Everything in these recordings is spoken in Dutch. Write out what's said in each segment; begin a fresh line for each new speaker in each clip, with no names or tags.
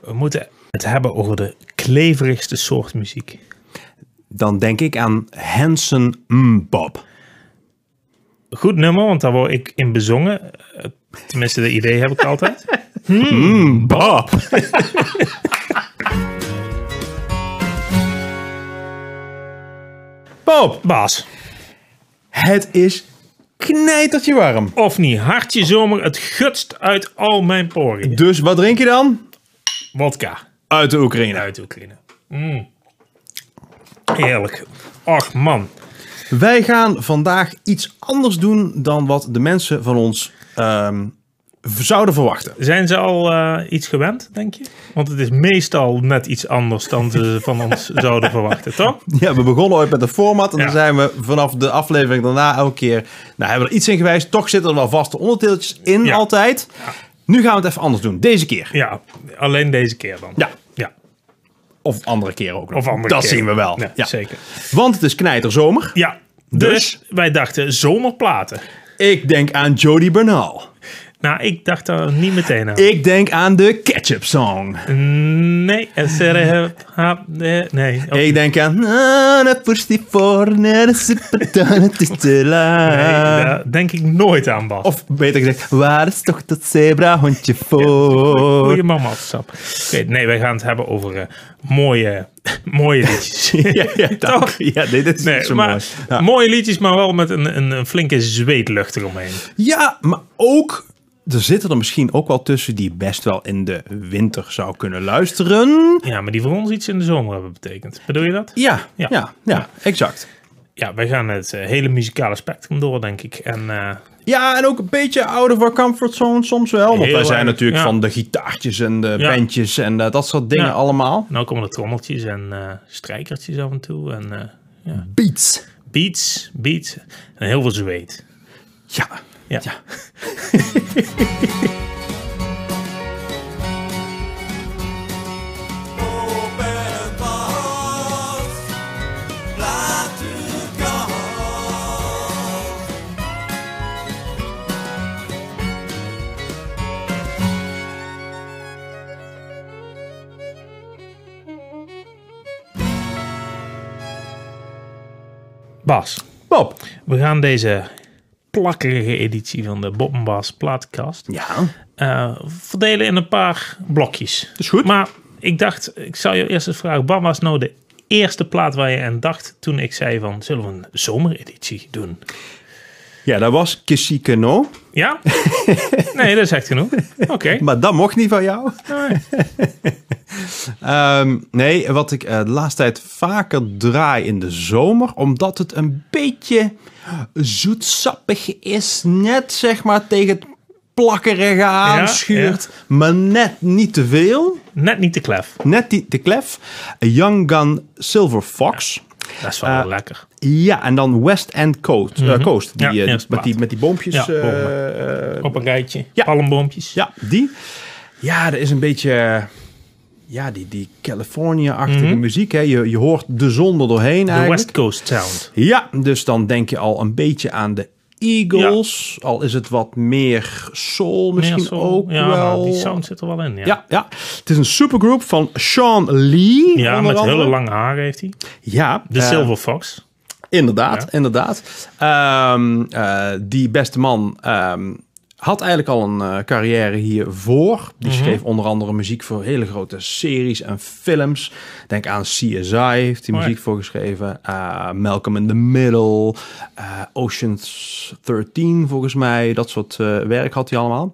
we moeten het hebben over de kleverigste soort muziek.
Dan denk ik aan Hanson Bob.
Goed nummer, want daar word ik in bezongen. Eh, Tenminste, dat idee heb ik altijd.
Bob. Bob,
Baas,
het is knijtertje warm.
of niet, hartje zomer, het gutst uit al mijn poriën.
Dus wat drink je dan?
Wodka
Uit de Oekraïne.
uit Oekraïne. Mm. Heerlijk. Och man,
Wij gaan vandaag iets anders doen dan wat de mensen van ons ehm, v- zouden verwachten.
zijn ze al eh, iets gewend, denk je? Want het is meestal net iets anders dan ze van ons zouden verwachten, toch?
Ja, we begonnen ooit met een format en
Ja.
dan zijn we vanaf de aflevering daarna elke keer... Nou, hebben we er iets in gewijzigd. Toch zitten er wel vaste onderdeeltjes in
Ja.
altijd. Nu gaan we het even anders doen. Deze keer.
Ja, alleen deze keer dan.
Ja.
Ja,
Of andere keer ook nog.
of andere
Dat
keer.
zien we wel.
Ja,
Ja.
Zeker.
Want het is knijterzomer.
Ja,
Dus?
dus wij dachten zomerplaten.
Ik denk aan Jody Bernal.
Nou, ik dacht daar niet meteen aan.
Ik denk aan de Ketchup Song.
Nee, SRH. Nee, nee. Oh,
Ik denk aan... Na, na, pusti, for, na, na, super, ta, na, tu, te, la.
nee, daar denk ik nooit aan, Bas.
Eh, Of beter gezegd, waar is toch dat zebrahondje voor?
Goeie mama afstap. Oké, nee, wij gaan het hebben over eh, mooie, mooie liedjes.
Ja, ja, dank.
Toch?
Ja, nee, dit is
Nee,
niet zo
maar,
mooi. Ja.
Mooie liedjes, maar wel met een, een, een flinke zweetlucht eromheen.
Ja, maar ook, er zitten er misschien ook wel tussen die best wel in de winter zou kunnen luisteren.
Ja, maar die voor ons iets in de zomer hebben betekend. Bedoel je dat?
Ja, ja,
Ja.
ja, exact.
Ja, wij gaan het eh, hele muzikale spectrum door, denk ik. En eh,
Ja, en ook een beetje out of our comfort zone soms wel. Want
Heel
wij zijn
erg,
natuurlijk
ja.
van de gitaartjes en de
Ja.
bandjes en eh, dat soort dingen
Ja.
allemaal.
nou komen er trommeltjes en eh strijkertjes af en toe. En eh, ja.
Beats.
beats, beats. En heel veel zweet.
Ja.
Ja.
Ja.
Bas,
Bob.
we gaan deze plakkerige editie van de Bob en Bas plaatkast
Ja.
eh, verdelen in een paar blokjes.
is goed.
Maar ik dacht, ik zou je eerst eens vragen, wat was nou de eerste plaat waar je aan dacht toen ik zei van, zullen we een zomereditie doen?
Ja, dat was Kissy Keno.
Ja? nee, dat is echt genoeg. Oké.
Maar dat mocht niet van jou.
Nee.
Ehm, nee, wat ik eh, de laatste tijd vaker draai in de zomer, omdat het een beetje zoetsappig is. Net zeg maar tegen het plakkerige aanschuurt, maar net niet te veel.
Net niet te klef.
Net die, de klef. Young Gun Silver Fox.
Dat is wel
Eh,
lekker.
Ja, en dan West End Coast. eh, Coast
Mhm.
die,
Ja,
eh, die-
eerste
met, die,
plaat.
met die boompjes. eh,
Ja,
Ja,
Op een rijtje.
ja.
Palmboompjes.
ja, die. Ja, dat is een beetje... eh, Ja, die, die California-achtige muziek. Hè. Je, je hoort de zon er doorheen
Mhm. De
eigenlijk.
West Coast Sound.
Ja, dus dan denk je al een beetje aan de Eagles. Al is het wat meer soul misschien
Meer zo-
ook
ja, maar
wel.
die sound zit er wel in. Ja,
Ja, ja, het is een supergroep van Sean Lee.
Ja,
onder
met
andere.
hele lange haren heeft hij.
Ja,
De
eh,
Silver Fox.
Inderdaad,
Ja.
inderdaad. Ehm, eh, die beste man ehm, had eigenlijk al een eh, carrière hiervoor. Die
Mhm.
schreef onder andere muziek voor hele grote series en films. Denk aan CSI heeft hij
Oh ja.
muziek voor geschreven. Eh, Malcolm in the Middle. eh, Ocean's 13 volgens mij. Dat soort eh, werk had hij allemaal.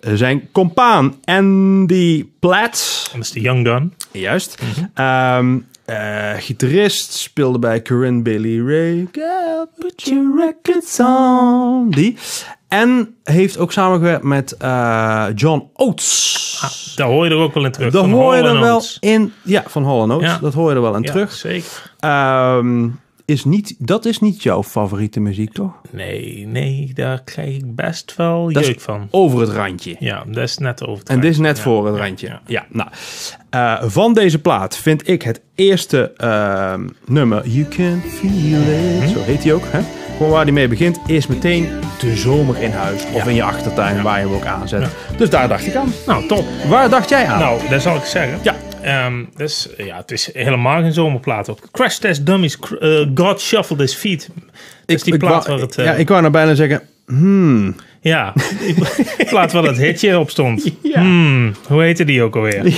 Eh, zijn compaan Andy Platt.
Dat is de Young Gun.
Juist.
Mhm.
Ehm, eh, gitarist speelde bij Corinne Bailey Ray. Girl, put your records on. Die. En heeft ook samengewerkt met eh, John Oates.
Daar hoor je er ook wel in terug.
dat
Ah, van
hoor je
Hall
er wel
Oates.
in. Ja, van Holland Oates.
Ja.
Dat hoor je er wel in
Ja,
terug.
Zeker.
Ehm, is niet, dat is niet jouw favoriete muziek, toch?
Nee, nee, daar krijg ik best wel
Dat is-
jeuk van.
Over het randje.
Ja, dat is net over.
En dit is net
Ja,
voor het
ja,
randje. Ja,
ja.
nou. Eh, van deze plaat vind
Mhm.
ik het eerste ehm, nummer. You can feel it. Zo heet hij ook, hè? Gewoon waar die mee begint, is meteen de zomer in huis.
Ja.
Of in je achtertuin, waar je hem ook aanzet. Dus daar dacht ik aan.
Nou, top.
Waar dacht jij aan?
Nou, dat zal ik zeggen.
Ja.
Ehm, dus, eh, ja, het is helemaal geen zomerplaat. Ook. Crash Test Dummies, cr- eh, God Shuffled His Feet. Dat is die
ik
plaat
wou,
waar het... eh,
Ja, ik wou nou bijna zeggen...
Ja, die plaat waar dat hitje op stond. Hmm, hoe heette die ook alweer? Weet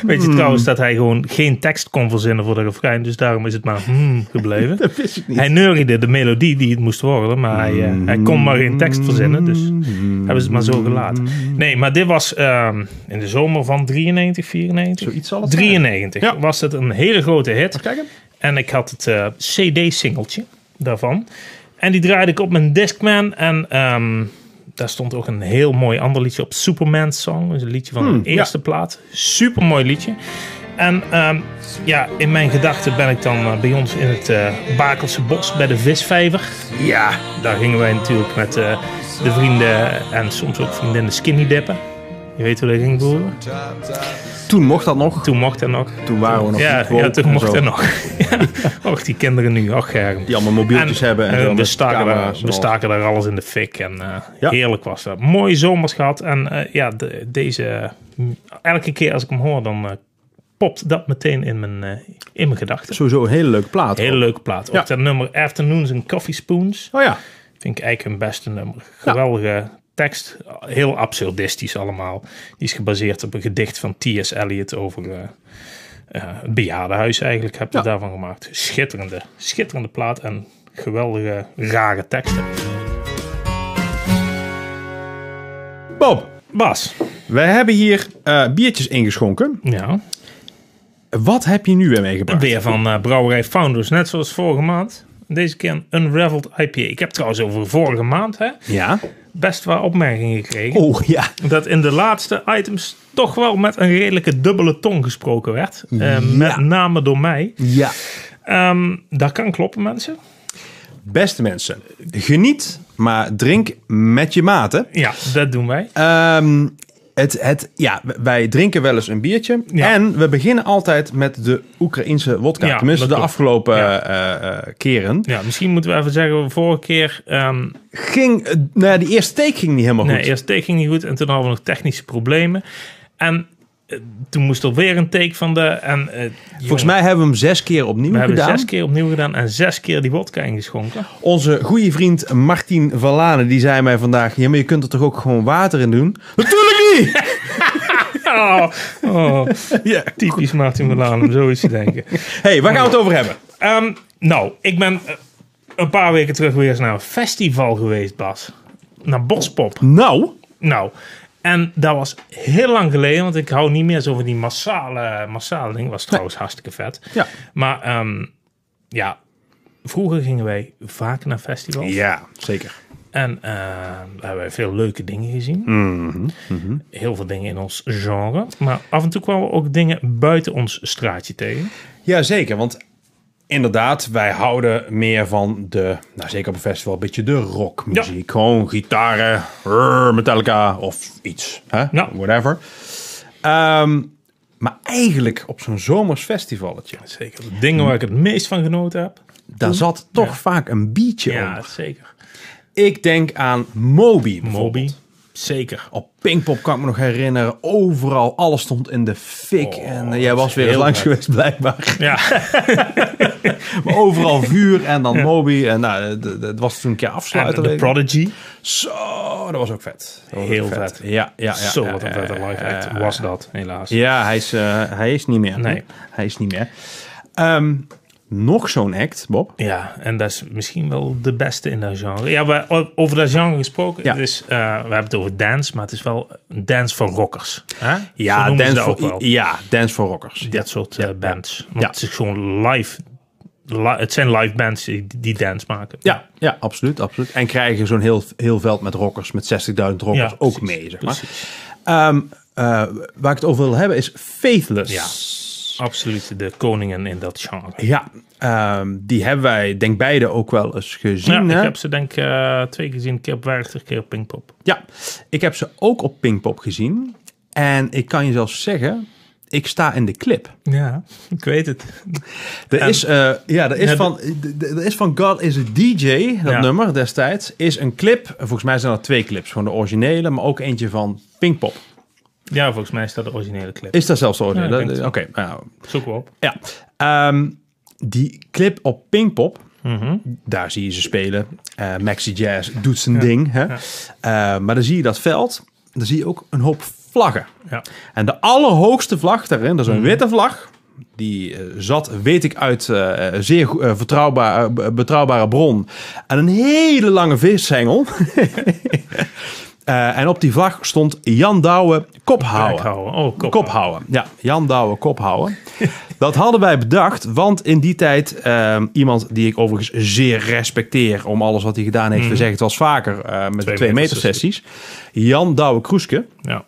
Hmm.
je trouwens dat hij gewoon geen tekst kon verzinnen voor de refrein, dus daarom is het maar hmm gebleven.
Dat wist ik niet.
Hij neuriede de melodie die het moest worden, maar hij, eh, hij kon maar geen tekst verzinnen, dus
Hmm.
hebben ze het maar zo gelaten. Nee, maar dit was ehm, in de zomer van 93, 94?
Zoiets zal het zijn.
93
Ja.
was het een hele grote hit.
kijken.
En ik had het eh, CD-singeltje daarvan. En die draaide ik op mijn Discman. En ehm, daar stond ook een heel mooi ander liedje op. Superman Song. Dus een liedje van de
ja.
eerste plaat. Super mooi liedje. En ehm, ja, in mijn gedachten ben ik dan eh, bij ons in het eh, Bakelse bos bij de visvijver.
Ja.
Daar gingen wij natuurlijk met eh, de vrienden en soms ook vriendinnen skinny dippen. Je weet hoe dat ging, broer.
Toen mocht dat nog.
Toen mocht dat nog.
Toen waren we nog
Ja,
niet woke
ja, toen
en
mocht
zo.
dat nog. ja. Och, die kinderen nu. Och, Germ.
Die allemaal mobieltjes hebben. En
eh,
zo
we,
met
staken
camera's en
daar, we
alles.
staken daar alles in de fik. En eh,
Ja.
heerlijk was dat. Mooi zomers gehad. En eh, ja, de- deze... eh, Elke keer als ik hem hoor, dan eh, popt dat meteen in mijn, eh, in mijn gedachten.
Sowieso een hele leuke plaat.
Hele leuke plaat. Ook
Ja.
dat nummer Afternoons and Coffee Spoons.
Oh ja.
Vind ik eigenlijk hun beste nummer. Geweldige tekst. Heel absurdistisch allemaal. Die is gebaseerd op een gedicht van T.S. Eliot over eh eh, het bejaardenhuis eigenlijk. Heb je
Ja.
daarvan gemaakt. Schitterende, schitterende plaat en geweldige, rare teksten.
Bob,
Bas.
wij hebben hier eh, biertjes ingeschonken.
Ja.
Wat heb je nu weer meegebracht?
Weer van eh, Brouwerij Founders. Net zoals vorige maand. Deze keer een Unraveled IPA. Ik heb trouwens over vorige maand hè,
Ja.
best wel opmerkingen gekregen.
Oh ja.
dat in de laatste items toch wel met een redelijke dubbele tong gesproken werd. Eh, Met name door mij.
Ja.
Ehm dat kan kloppen, mensen.
Beste mensen, geniet, maar drink met je maten.
Ja, dat doen wij.
Ehm, het, het, ja, w- wij drinken wel eens een biertje.
Ja.
En we beginnen altijd met de Oekraïense wodka.
Ja,
Tenminste, de
dat klopt.
afgelopen
Ja.
eh, eh, keren.
Ja, misschien moeten we even zeggen, vorige keer... ehm
Ging, eh, nou ja, die eerste take ging niet helemaal
nee,
goed.
eerst take ging niet goed en toen hadden we nog technische problemen. En eh, toen moest er weer een take van de... En, eh,
Volgens
jongen,
mij hebben we hem zes keer
We
opnieuw
hebben
gedaan.
zes keer opnieuw gedaan en zes keer die wodka ingeschonken.
Onze goede vriend Martin Valane, die zei mij vandaag... Ja, maar je kunt er toch ook gewoon water in doen? Natuurlijk niet!
Oh, oh,
ja.
typisch Martin Milan om zoiets te denken.
hey, waar gaan we het over hebben?
Ehm, nou, ik ben eh, een paar weken terug weer eens naar een festival geweest, Bas. Naar Bospop.
Nou,
Nou, en dat was heel lang geleden, want ik hou niet meer zo van die massale, massale ding. Was trouwens hartstikke vet.
Ja.
Maar ehm, ja, vroeger gingen wij vaak naar festivals.
ja, zeker.
En eh, daar hebben wij veel leuke dingen gezien.
Mhm,
Heel veel dingen in ons genre. Maar af en toe kwamen we ook dingen buiten ons straatje tegen.
Ja, zeker. Want inderdaad, wij houden meer van de, nou zeker op een festival, een beetje de rockmuziek. Gewoon gitaren, rrr, Metallica of iets. Hè?
Ja.
Whatever. Ehm, maar eigenlijk op zo'n zomers festivaletje,
Zeker. Dingen waar ik het meest van genoten heb.
daar zat toch vaak een biertje
Ja,
onder.
zeker.
Ik denk aan Moby bijvoorbeeld.
Moby. Zeker.
Op Pinkpop kan ik me nog herinneren. Overal, alles stond in de fik.
Oh,
en eh, jij was weer
heel
eens langs
vet.
geweest blijkbaar.
Ja,
Maar overal vuur en dan Moby. En nou, eh, d- d- het was toen een keer
en
afsluiten.
de
weet ik.
Prodigy.
Zo, dat was ook vet. Dat was
Heel
ook
vet.
Ja, ja, ja.
Zo
ja,
wat een
ja,
vette
ja,
live
ja,
act
ja.
was dat, helaas.
Ja, hij is, eh, hij is niet meer.
Nee.
Hij is niet meer. Ehm, nog zo'n act, Bob.
Ja, en dat is misschien wel de beste in dat genre. Ja, we, o- over dat genre gesproken.
Ja.
Het is, eh, we hebben het over dance, maar het is wel een dance voor rockers. Hè? Zo
Ja,
noemen ze
dance
dat ook
voor,
wel.
ja, dance voor rockers.
Dat soort eh, bands. Want
Ja.
het is gewoon live. li- het zijn live bands die, die dance maken.
Ja, ja absoluut, absoluut. En krijgen zo'n heel, heel veld met rockers, met 60.000 rockers
Ja,
ook
precies,
mee, zeg maar. Ehm, eh, waar ik het over wil hebben is Faithless.
Ja. Absoluut de koningen in dat genre.
Ja, ehm, die hebben wij denk beide ook wel eens
Ja,
gezien.
ik
hè?
heb ze denk ik eh, twee keer gezien. Een keer op Werchter, een keer op Pinkpop.
ja, ik heb ze ook op Pinkpop gezien. En ik kan je zelfs zeggen, Ik sta in de clip.
Ja, ik weet het.
Er
En-
is, eh, ja, er is,
Ja,
van, d- d- er is van God is a DJ, dat
Ja.
nummer destijds, is een clip. Volgens mij zijn er twee clips. Gewoon de originele, maar ook eentje van Pinkpop.
Ja, volgens mij staat de originele clip.
Is dat zelfs zo?
Ja, ik denk het.
Oké, nou,
Zoek we op.
ja. Ehm, die clip op Pinkpop, Mhm. daar zie je ze spelen. Eh, Maxi Jazz doet zijn ding. Hè? Eh, maar dan zie je dat veld, dan zie je ook een hoop vlaggen.
Ja.
En de allerhoogste vlag daarin, dat is een witte vlag. Die eh, zat, weet ik uit eh, eh, zeer goe- eh, vertrouwbaar, eh, be- betrouwbare bron. En een hele lange vishengel. Eh, en op die vlag stond Jan Douwe
Kijk
Kophouden.
houden. Oh, kop,
Kop
houden.
houden. Ja, Jan Douwe kop houden. Dat hadden wij bedacht, want in die tijd ehm, iemand die ik overigens zeer respecteer om alles wat hij gedaan heeft. We zeggen het wel eens vaker eh, met de Mhm. twee meter sessies. Jan Douwe Kroeske.
Ja.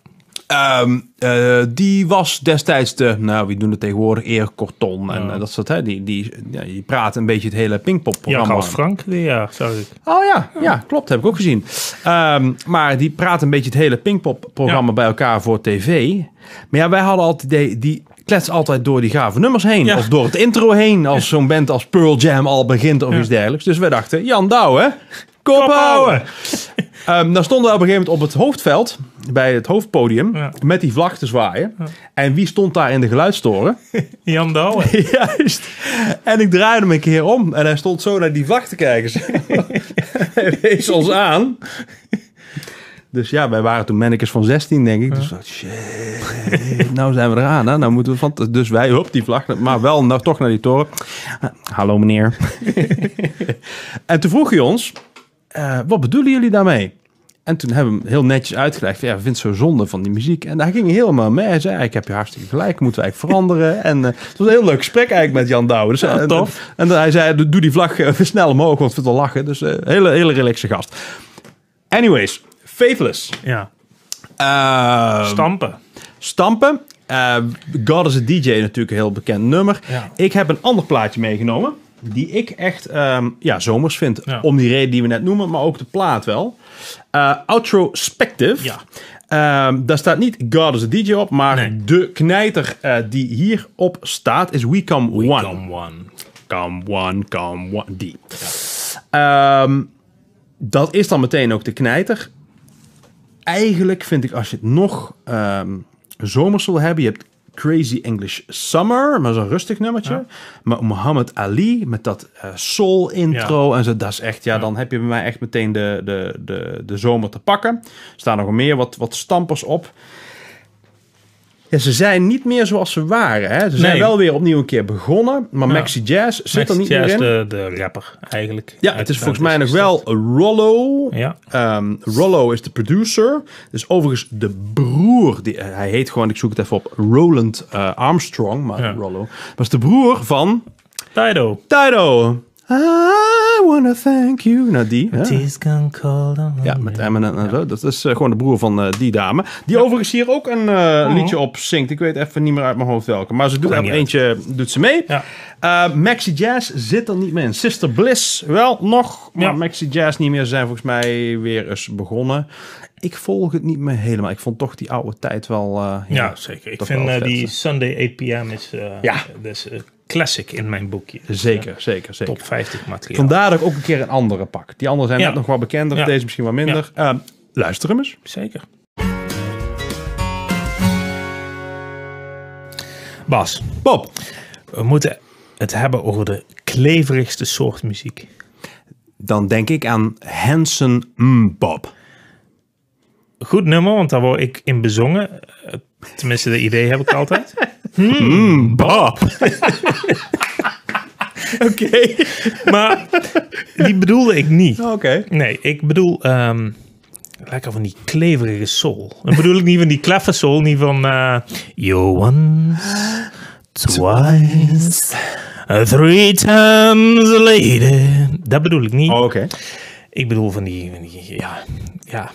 Ehm, eh, die was destijds de, nou wie doen het tegenwoordig, Eer Corton en eh, dat soort. Hè, die, die, ja, die praat een beetje het hele Pinkpop
Jan
programma.
Klaus Frank, die, ja, zag ik.
Oh ja, ja, klopt, heb ik ook gezien. Ehm, maar die praat een beetje het hele Pinkpop-programma
Ja.
bij elkaar voor tv. Maar ja, wij hadden altijd het idee, die klets altijd door die gave nummers heen.
Ja.
Of door het intro heen, als zo'n band als Pearl Jam al begint of iets dergelijks. Dus wij dachten, Jan Douwe, kop houden. Ehm dan stonden we op een gegeven moment op het hoofdveld, bij het hoofdpodium,
Ja.
met die vlag te zwaaien. En wie stond daar in de geluidstoren?
Jan Douwe.
Juist. En ik draaide hem een keer om en hij stond zo naar die vlag te kijken. Zo. hij wees ons aan. Dus ja, wij waren toen mannekes van 16, denk ik. Dus dacht, shit, nou zijn we eraan. Hè? Nou moeten we van, dus wij, hop, die vlag, maar wel nou, toch naar die toren. Ah, Hallo meneer. en toen vroeg hij ons, eh, wat bedoelen jullie daarmee? En toen hebben we hem heel netjes uitgelegd. van, Ja, we vinden het zo zonde van die muziek. En daar ging hij helemaal mee. Hij zei, ik heb je hartstikke gelijk. Moeten we eigenlijk veranderen. En eh, het was een heel leuk gesprek eigenlijk met Jan Douwe. Dus, eh, en-
tof.
En, hij zei, doe doe die vlag eh, snel omhoog, want we te lachen. Dus eh, hele, hele relaxe gast. Anyways, Faithless.
Ja.
Eh,
Stampen.
Stampen. Eh, God is a DJ natuurlijk een heel bekend nummer.
Ja.
Ik heb een ander plaatje meegenomen. Die ik echt ehm, ja, zomers vind.
Ja.
Om die reden die we net noemen, maar ook de plaat wel. Eh Outrospective.
Ja.
Ehm, daar staat niet God is a DJ op, maar
Nee.
de knijter eh, die hierop staat is We Come One.
Come one.
Come one, come one, die. Ehm, dat is dan meteen ook de knijter. Eigenlijk vind ik als je het nog ehm zomers wil hebben, je hebt Crazy English Summer, maar zo'n rustig nummertje. Maar Muhammad Ali met dat eh, soul intro en zo, dat is echt, ja, dan heb je bij mij echt meteen de, de, de, de zomer te pakken. Er staan nog meer wat, wat stampers op. Ja, ze zijn niet meer zoals ze waren. Hè? Ze zijn
Nee.
wel weer opnieuw een keer begonnen, maar
Ja.
Maxi Jazz zit er niet
Max
meer in.
Jazz, eh, De, de rapper, eigenlijk.
Ja, het is volgens mij nog wel Rollo.
Ja.
Ehm, Rollo is de producer. Dus overigens de broer. Die, eh, hij heet gewoon, ik zoek het even op, Roland eh, Armstrong. Maar
Ja.
Rollo was de broer van
Tido.
Tido. I wanna thank you. Nou, die. hè?
Tis gone cold on
Ja,
me.
met Eminem en zo. Dat is eh, gewoon de broer van eh, die dame. Die overigens hier ook een eh, liedje op zingt. Ik weet even niet meer uit mijn hoofd welke. Maar ze doet
Oh. Maakt
er
niet
eentje doet ze mee.
Ja.
Eh, Maxi Jazz zit er niet meer in. Sister Bliss wel nog. Maar
Ja.
Maxi Jazz niet meer. Ze zijn volgens mij weer eens begonnen. Ik volg het niet meer helemaal. Ik vond toch die oude tijd wel... eh,
Ja, zeker. Ik
toch
vind
wel
eh,
vet.
die Sunday 8 p.m. is, eh
Ja.
dat is een classic in mijn boekje. Dus,
Zeker, zeker,
eh,
zeker.
top 50 materiaal.
Vandaar dat ik ook een keer een andere pak. Die andere zijn
Ja.
net nog wat bekender.
Ja.
Deze misschien wat minder. Eh, luister hem eens.
Zeker. Bas,
Bob.
we moeten het hebben over de kleverigste soort muziek.
Dan denk ik aan Hanson M. Bob.
Goed nummer, want daar word ik in bezongen. Eh, Tenminste, dat idee heb ik altijd.
Bob. Oké.
Maar die bedoelde ik niet.
Oké.
Nee, ik bedoel... ehm, lekker van die kleverige soul. Dan bedoel ik niet van die kleffe soul, niet van... eh you once, twice, three times later.
Oh.
Dat bedoel ik niet.
Oké.
Ik bedoel van die... Van die ja, ja.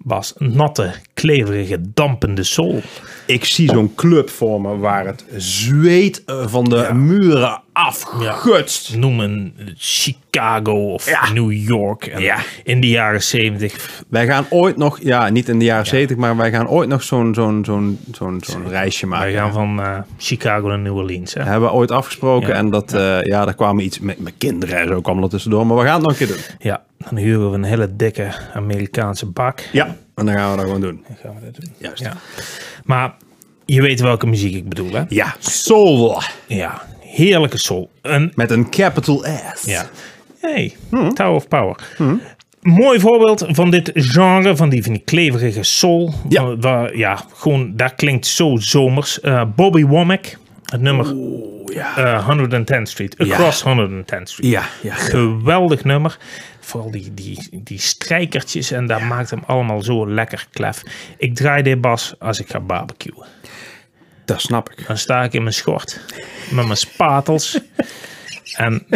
Bas, natte, kleverige, dampende sol.
Ik zie zo'n club voor me waar het zweet eh, van de muren afgutst.
Noem een Chicago of
Ja.
New York. En
Ja.
In de jaren zeventig.
Wij gaan ooit nog, ja, niet in de jaren 70, maar wij gaan ooit nog zo'n zo'n zo'n zo'n zo'n reisje
Wij
maken.
gaan van eh, Chicago naar New Orleans. Hè?
Hebben we ooit afgesproken
Ja.
en dat, ja, ja daar kwamen iets met mijn kinderen en zo kwam er tussendoor. Maar we gaan het nog een keer doen.
Ja, dan huren we een hele dikke Amerikaanse bak.
Ja. En dan gaan we dat gewoon doen.
Dan gaan we dat doen.
Juist.
Ja. Maar je weet welke muziek ik bedoel, hè?
Ja, soul.
Ja, heerlijke soul. Een,
Met een capital S.
ja. Hey,
Hmm.
Tower of Power. Mooi voorbeeld van dit genre, van die, van die kleverige soul.
Ja.
Van- waar, ja, gewoon, daar klinkt zo zomers. Eh, Bobby Womack, het nummer
Oh ja.
eh 110th Street. Across 110th Street.
Ja, ja.
Geweldig nummer. Vooral die, die, die strijkertjes en dat maakt hem allemaal zo lekker klef. Ik draai dit bas als ik ga barbecuen.
Dat snap ik.
Dan sta ik in mijn schort met mijn spatels. en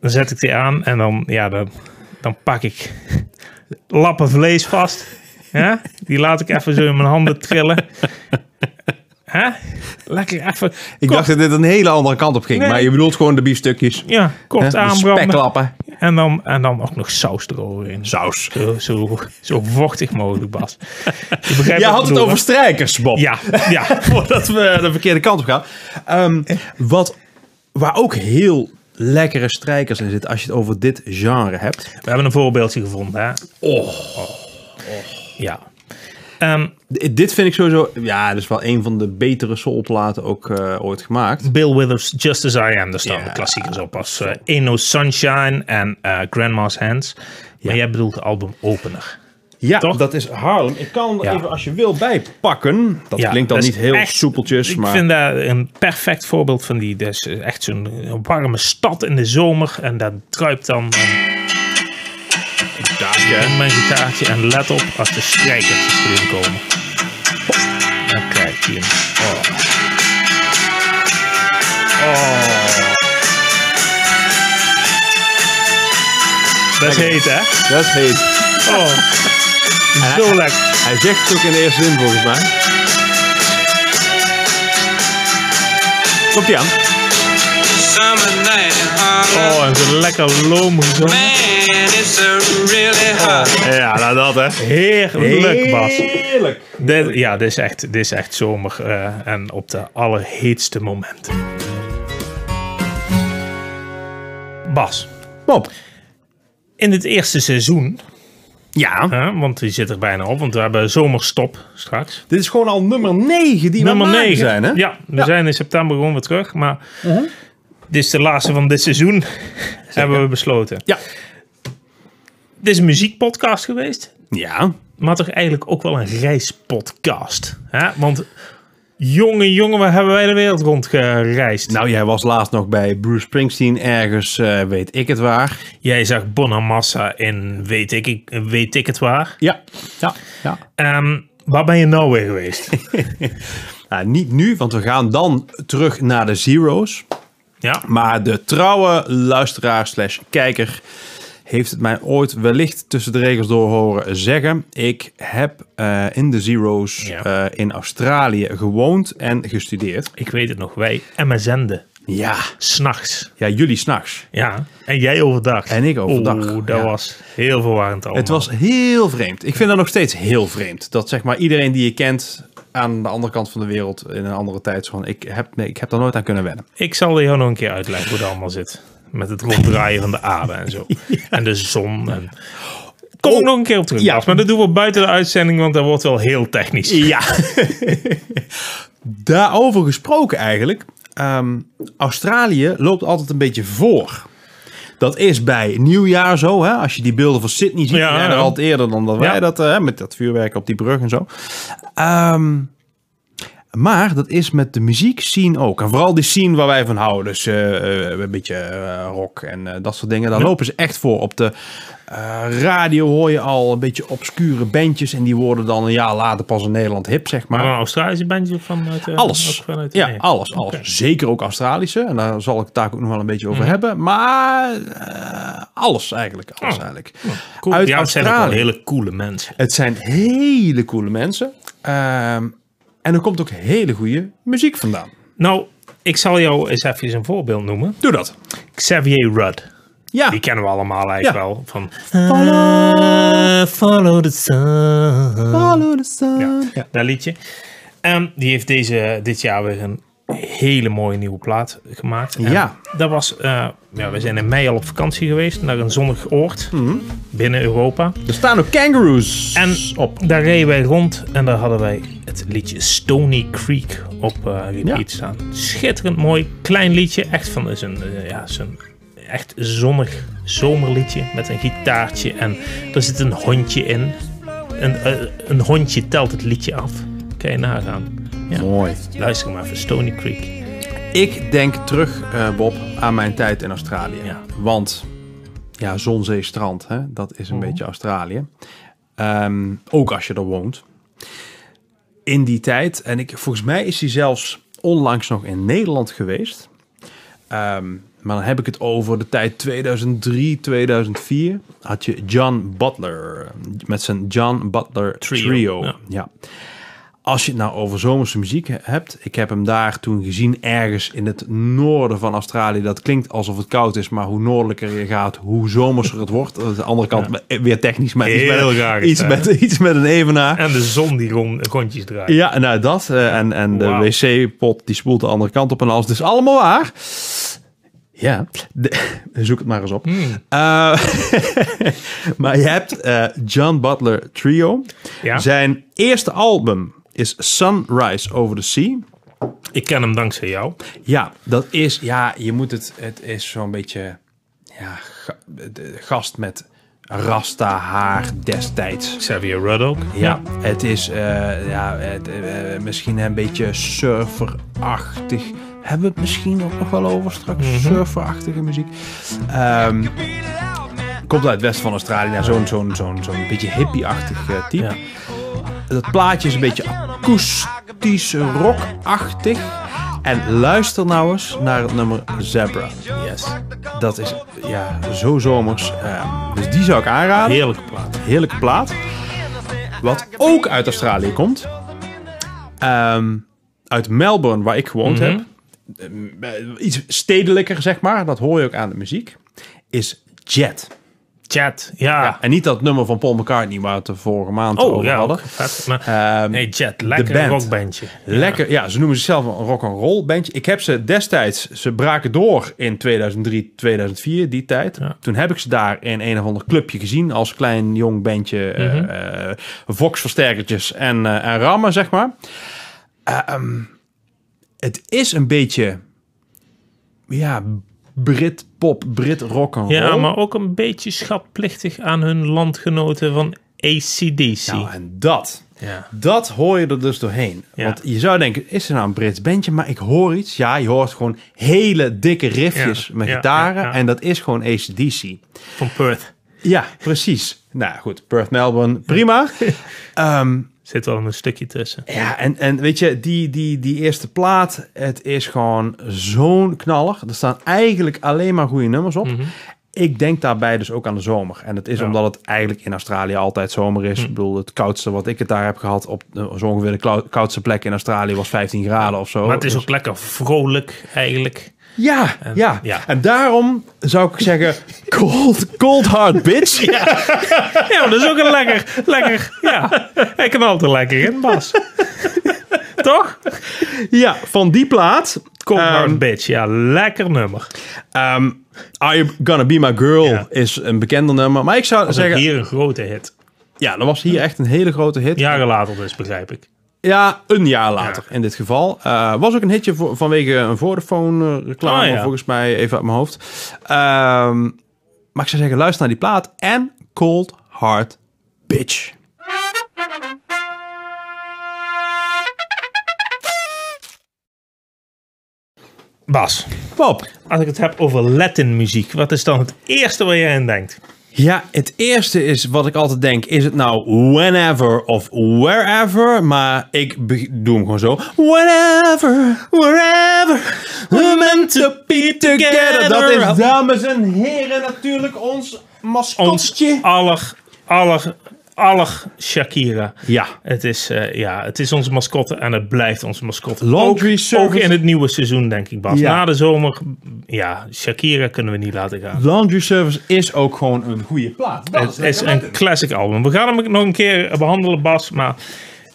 dan zet ik die aan en dan, ja, dan, dan pak ik lappen vlees vast. Ja? Die laat ik even zo in mijn handen trillen. Hè? Lekker even.
Ik
kort-
dacht dat dit een hele andere kant op ging,
Nee.
maar je bedoelt gewoon de biefstukjes.
ja, kort
Hè, de
aanbranden.
Spekklappen.
En dan, en dan ook nog saus eroverheen.
Saus.
Zo, zo, zo vochtig mogelijk, Bas. Je begrijpt wat ik
Jij had het
bedoel, hè?
over strijkers, Bob.
Ja, ja.
Voordat we de verkeerde kant op gaan. Ehm, wat, waar ook heel lekkere strijkers in zitten als je het over dit genre hebt.
We hebben een voorbeeldje gevonden, hè?
Oh.
Ja. Ehm,
Dit vind ik sowieso, ja, dat is wel een van de betere soulplaten ook eh, ooit gemaakt.
Bill Withers, Just As I Am. Daar staan de
Ja.
klassiekers op als eh Ain't No Sunshine en eh, Grandma's Hands. Maar jij bedoelt de album Opener.
Ja,
Toch?
dat is Harlem. Ik kan hem er
Ja.
even als je wil bijpakken. Dat
Ja,
klinkt dan
dat is
niet heel
echt-
soepeltjes,
Ik
maar
vind dat een perfect voorbeeld van die. Dat is echt zo'n eh, warme stad in de zomer. En dat druipt dan eh, een- in mijn gitaartje. En let op als de strijkertjes erin komen. Dan krijg je hem. Oh. Oh. Dat is heet, hè?
dat is heet.
Oh, zo lekker.
Hij zegt het ook in de eerste zin volgens mij. Komt ie aan.
Summer night in Harlem.
Oh, en zo'n lekker loom gezongen.
Man, it's a really hot.
Ja, nou dat hè.
Heerlijk, Bas.
Heerlijk.
Dit, ja, dit is echt, dit is echt zomer eh, en op de allerheetste momenten. Bas,
Bob.
in het eerste seizoen,
Ja.
hè, want die zit er bijna op, want we hebben zomerstop straks.
Dit is gewoon al nummer 9 die
Nummer
we maken
9.
zijn hè. Mhm.
Ja, we zijn in september gewoon weer terug, maar dit is de laatste van dit seizoen, hebben we besloten.
Ja.
Dit is een muziekpodcast geweest,
Ja.
maar toch eigenlijk ook wel een reispodcast. Hè? Want jongen, jongen, waar hebben wij de wereld rond gereisd?
Nou, jij was laatst nog bij Bruce Springsteen ergens, eh, weet ik het waar.
Jij zag Bonamassa in weet ik, ik- weet ik het waar.
Ja. Ja. ja.
Ehm, waar ben je nou weer geweest?
Nou, niet nu, want we gaan dan terug naar de Zero's.
ja,
Maar de trouwe luisteraar slash kijker heeft het mij ooit wellicht tussen de regels door horen zeggen. Ik heb eh, in de Zero's
Ja.
eh, in Australië gewoond en gestudeerd.
ik weet het nog. Wij MSN'den.
Ja.
S'nachts.
Ja, jullie s'nachts.
Ja. En jij overdag.
En ik overdag,
Oeh, dat
ja.
was heel verwarrend allemaal.
Het was heel vreemd. Ik vind dat nog steeds heel vreemd. Dat zeg maar iedereen die je kent aan de andere kant van de wereld in een andere tijd. zo Van, ik, heb, nee, ik heb daar nooit aan kunnen wennen.
Ik zal jou nog een keer uitleggen hoe het allemaal zit. Met het ronddraaien van de aarde en zo. En de zon. En... Kom ik nog een keer op terug.
Oh, Ja.
Bas, Maar dat doen we buiten de uitzending, want dat wordt wel heel technisch.
Ja. Daarover gesproken eigenlijk. ehm, Australië loopt altijd een beetje voor. Dat is bij nieuwjaar zo. Hè? Als je die beelden van Sydney ziet,
Ja,
ja,
ja.
altijd eerder dan dat wij
Ja.
dat hè, met dat vuurwerk op die brug en zo. Ehm, maar dat is met de muziek scene ook. En vooral die scene waar wij van houden. Dus eh, eh, een beetje eh, rock en eh, dat soort dingen. Daar lopen ze echt voor. Op de eh, radio hoor je al een beetje obscure bandjes. En die worden dan een jaar later pas in Nederland hip, zeg maar.
Maar een Australische bandje of vanuit... eh,
Alles.
ook vanuit-
ja,
nee.
alles, alles.
Oké. Mhm.
Zeker ook Australische. En daar zal ik het daar ook nog wel een beetje over hebben. Maar eh, Alles eigenlijk. Alles eigenlijk.
Cool.
Uit
Oh. ja, het zijn ook wel
Australië.
hele coole mensen.
Het zijn hele coole mensen. Ehm, en er komt ook hele goede muziek vandaan.
Nou, ik zal jou eens even een voorbeeld noemen.
Doe dat.
Xavier Rudd.
Ja.
Die kennen we allemaal eigenlijk
Ja.
wel. Van,
Follow-
Eh, follow the sun.
Follow the sun. Ja.
dat liedje. En die heeft deze, dit jaar weer een hele mooie nieuwe plaat gemaakt. En
Ja.
Dat was, eh, ja, we zijn in mei al op vakantie geweest naar een zonnig oord
Mhm.
binnen Europa.
Er staan ook kangaroos
En
op.
Dus daar reden wij rond en daar hadden wij het liedje Stony Creek op eh repeat
Ja.
staan. Schitterend mooi, klein liedje. Echt van is een, eh, ja, is een echt zonnig zomerliedje met een gitaartje. En er zit een hondje in. Een, eh, een hondje telt het liedje af. Kan je nagaan. Ja.
Mooi.
Luister maar even, Stony Creek.
Ik denk terug, eh, Bob, aan mijn tijd in Australië.
Ja.
Want, ja, zon, zee, strand, hè, dat is een
Mhm.
beetje Australië. Ehm, ook als je er woont. In die tijd, en ik, volgens mij is hij zelfs onlangs nog in Nederland geweest. Ehm, maar dan heb ik het over de tijd 2003, 2004. Had je John Butler eh, met zijn John Butler
Trio,
Trio.
ja.
ja. Als je het nou over zomerse muziek hebt, ik heb hem daar toen gezien ergens in het noorden van Australië. Dat klinkt alsof het koud is, maar hoe noordelijker je gaat, hoe zomerser het wordt. Aan de andere kant weer technisch, maar iets,
Heel
met,
raar is
iets,
dat,
met, iets met een evenaar.
En de zon die rond, rondjes draait.
Ja, nou dat. eh, en en
Wauw.
de wc-pot die spoelt de andere kant op en alles. Dus allemaal waar. Ja, de- zoek het maar eens op. Eh, maar je hebt eh, John Butler Trio.
Ja.
Zijn eerste album is Sunrise Over the Sea.
Ik ken hem dankzij jou.
Ja, dat is, ja, je moet het, het is zo'n beetje, ja, ga- de gast met rasta haar destijds.
Xavier Rudd ook.
Ja, het is eh, ja, het, eh, eh, misschien een beetje surferachtig. Hebben we het misschien ook nog wel over straks? Surferachtige muziek. Ehm, komt uit het westen van Australië. Nou, zo'n zo'n zo'n zo'n beetje hippie-achtig eh, type.
Ja.
Dat plaatje is een beetje akoestisch, rockachtig. En luister nou eens naar het nummer Zebra.
Yes.
Dat is ja, zo zomers. Ehm, dus die zou ik aanraden.
Heerlijke plaat.
Heerlijke plaat. Wat ook uit Australië komt. Ehm, uit Melbourne, waar ik gewoond
Mhm.
heb. Ehm, Iets stedelijker, zeg maar. Dat hoor je ook aan de muziek. Is Jet.
Chat. Ja.
En niet dat nummer van Paul McCartney waar we het de vorige maand
Ah. Oh
over
ja,
hadden.
ook vet. Maar,
Ehm,
nee, Jet. Lekker
band.
rockbandje.
Lekker, ja, ze noemen zichzelf een rock and roll bandje. Ik heb ze destijds, ze braken door in 2003, 2004, die tijd.
Ja.
Toen heb ik ze daar in een of ander clubje gezien als klein jong bandje, eh
Mhm.
eh, voxversterkertjes en, eh, en rammen, zeg maar. Eh, ehm, het is een beetje, ja, Brit pop, Brit rock and roll.
Ja, maar ook een beetje schatplichtig aan hun landgenoten van ACDC.
Nou, en dat.
ja.
Dat hoor je er dus doorheen.
Ja.
Want je zou denken, is er nou een Brits bandje? Maar ik hoor iets. Ja, je hoort gewoon hele dikke riffjes
Ja,
met
ja,
gitaren.
ja, ja.
En dat is gewoon ACDC.
Van Perth.
Ja, precies. Nou goed, Perth Melbourne, prima. Ehm,
Zit wel een stukje tussen.
ja, en, en weet je, die, die, die eerste plaat, het is gewoon zo'n knaller. Er staan eigenlijk alleen maar goede nummers op.
Mhm.
Ik denk daarbij dus ook aan de zomer. En dat is omdat het eigenlijk in Australië altijd zomer
Mhm.
is. Ik bedoel, het koudste wat ik het daar heb gehad op eh, zo ongeveer de klau- koudste plek in Australië was 15 graden of zo.
Maar het is
Dus-
ook lekker vrolijk eigenlijk.
ja, ja.
ja.
En daarom zou ik zeggen, cold, cold hard bitch.
Ja, maar dat is ook een lekker, lekker, ja. Hij knalt er lekker in, Bas. Toch?
Ja, van die plaat.
Kom
ehm,
maar, bitch. Ja, lekker nummer.
Ehm, Are You Gonna Be My Girl
Ja.
is een bekender nummer. Maar ik zou
Dat is
zeggen...
hier een grote hit.
Ja, dat was hier echt een hele grote hit. Ja,
Jaren later dus, begrijp ik.
een jaar later in dit geval. Eh, was ook een hitje voor- vanwege een Vodafone-reclame,
Ah, ja.
volgens mij, even uit mijn hoofd. Ehm, maar ik zou zeggen, luister naar die plaat. En Cold Hard Bitch.
Bas,
Bob,
als ik het heb over Latin muziek, wat is dan het eerste waar jij aan denkt?
Ja, het eerste is wat ik altijd denk: is het nou whenever of wherever? Maar ik be- doe hem gewoon zo: whenever, wherever, we're meant to be together. Dat is, dames en heren, natuurlijk ons
Ons
mascotje.
aller, aller, aller Shakira.
Ja.
Het is, eh, ja, het is onze mascotte en het blijft onze mascotte.
Laundry
ook,
service.
ook in het nieuwe seizoen, denk ik, Bas.
Ja.
Na de zomer, ja, Shakira kunnen we niet laten gaan.
Laundry Service is ook gewoon een goede plaat. Dat
Het is een classic album. We gaan hem nog een keer behandelen, Bas. Maar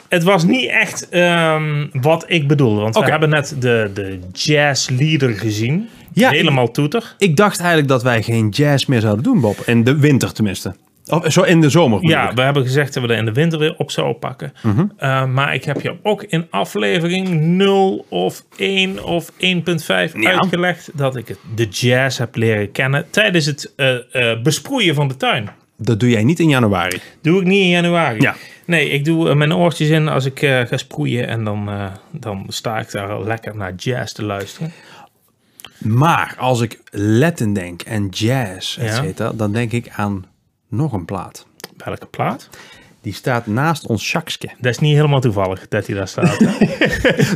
het was niet echt ehm, wat ik bedoelde. Want
Oké.
we hebben net de, de jazz leader gezien.
Ja,
Helemaal toeter.
Ik dacht eigenlijk dat wij geen jazz meer zouden doen, Bob. In de winter tenminste. Of zo in de zomer. bedoel
Ja,
ik.
we hebben gezegd dat we er in de winter weer op zouden pakken.
Mhm.
Eh, maar ik heb je ook in aflevering 0 of 1 of 1.5
Ja.
uitgelegd dat ik het- de jazz heb leren kennen tijdens het eh, eh, besproeien van de tuin.
Dat doe jij niet in januari.
Doe ik niet in januari.
Ja.
Nee, ik doe eh, mijn oortjes in als ik eh, ga sproeien en dan, eh, dan sta ik daar al lekker naar jazz te luisteren.
Maar als ik Latin denk en jazz, et
Ja.
cetera, dan denk ik aan nog een plaat.
Welke plaat?
Die staat naast ons Sjakske.
Dat is niet helemaal toevallig dat hij daar staat.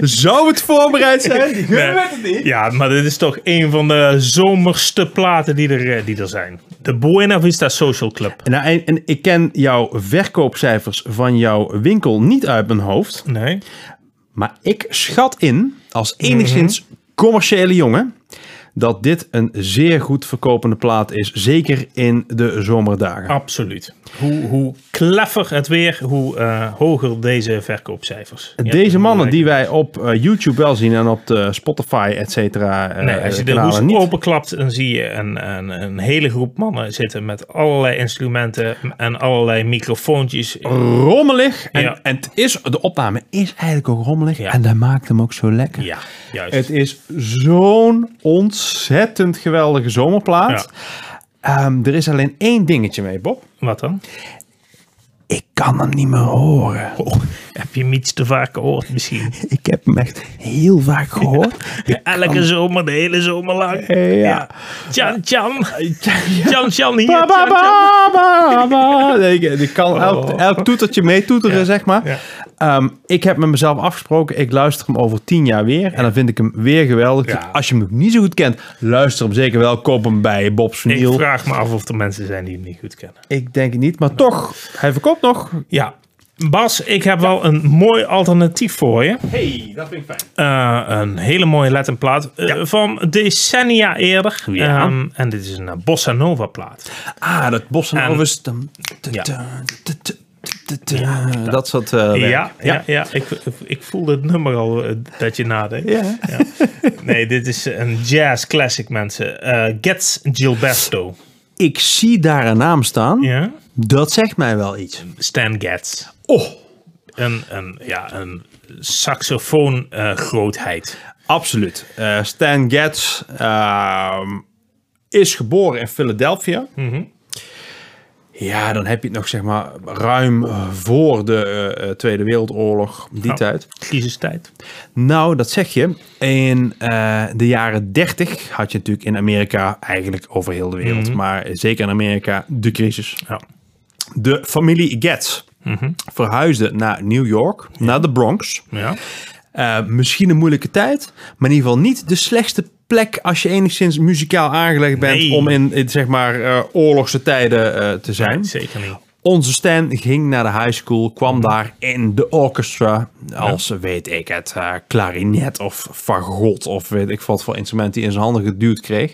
Zou het voorbereid zijn? Ik
Nee. Ja, maar dit is toch een van de zomerste platen die er, eh, die er zijn. De Buena Vista Social Club.
Nou, en, en ik ken jouw verkoopcijfers van jouw winkel niet uit mijn hoofd.
Nee.
Maar ik schat in, als enigszins
Mhm.
commerciële jongen, dat dit een zeer goed verkopende plaat is. Zeker in de
Oh,
zomerdagen.
Absoluut. Hoe, hoe kleffer het weer, hoe eh, hoger deze verkoopcijfers. Ja,
Deze mannen
gelijk.
die wij op eh, YouTube wel zien en op de Spotify, et cetera. eh,
Nee, als je de
kanalen
hoes
niet.
openklapt, dan zie je een, een, een hele groep mannen zitten met allerlei instrumenten en allerlei microfoontjes.
rommelig. En,
Ja.
en het is, de opname is eigenlijk ook rommelig.
Ja.
En dat maakt hem ook zo lekker.
Ja, juist.
Het is zo'n ontzettend geweldige zomerplaat. Ehm, er is alleen één dingetje mee, Bob.
Wat dan?
Ik kan hem niet meer horen.
Oh. Heb je hem iets te vaak gehoord misschien?
Ik heb hem echt heel vaak gehoord.
Elke zomer, de hele zomer lang.
ja.
Tjan, Tjan. Tjan, Tjan hier.
Ba, ba,
Tjan, Tjan.
ba, ba, ba. Nee, Ik ik kan elk,
Oh.
elk toetertje meetoeteren,
Ja,
zeg maar.
ja.
Ehm, ik heb met mezelf afgesproken, ik luister hem over tien jaar weer. En dan vind ik hem weer geweldig.
Ja.
Dus als je hem nog niet zo goed kent, luister hem zeker wel. Koop hem bij Bob
Ik
Sneeuw. Ik,
vraag me af of er mensen zijn die hem niet goed kennen.
denk het niet, maar toch, hij verkoopt nog.
Ja. Bas, ik heb wel een mooi alternatief voor je.
hey, dat vind ik fijn.
Eh, een hele mooie Latin plaat. eh, Van decennia eerder.
Ja.
Ehm, en dit is een eh, Bossa Nova plaat.
Ah, dat bos en
En-
overs. Tum, tu,
Ja.
tu, tu, tu, tu, tu, Dat soort eh, werk.
Ja, ja, ja. Ik, ik, ik voelde het nummer al eh, dat je nadenkt.
Ja.
Nee, dit is een jazz classic, mensen. Eh Gets Gilberto.
Ik zie daar een naam staan.
Ja?
Dat zegt mij wel iets.
Stan Getz.
Oh,
Een, een, ja, een saxofoon eh, grootheid.
Absoluut. Eh, Stan Getz ehm, is geboren in Philadelphia. Ja, dan heb je het nog zeg maar ruim eh, voor de eh, eh, Tweede Wereldoorlog, die tijd.
Crisistijd.
Nou, dat zeg je. In eh, de jaren 30 had je natuurlijk in Amerika, eigenlijk over heel de wereld, maar zeker in Amerika, de crisis.
Ja.
De familie Getz verhuisde naar New York, naar de Bronx.
ja.
Eh, misschien een moeilijke tijd, maar in ieder geval niet de slechtste plek als je enigszins muzikaal aangelegd bent
Nee.
om in, in, zeg maar eh, oorlogse tijden eh, te zijn.
Zeker niet.
Onze Stan ging naar de high school,
Mhm.
kwam daar in de orchestra als weet ik het, eh, klarinet of fagot of weet ik wat voor instrument die in zijn handen geduwd kreeg.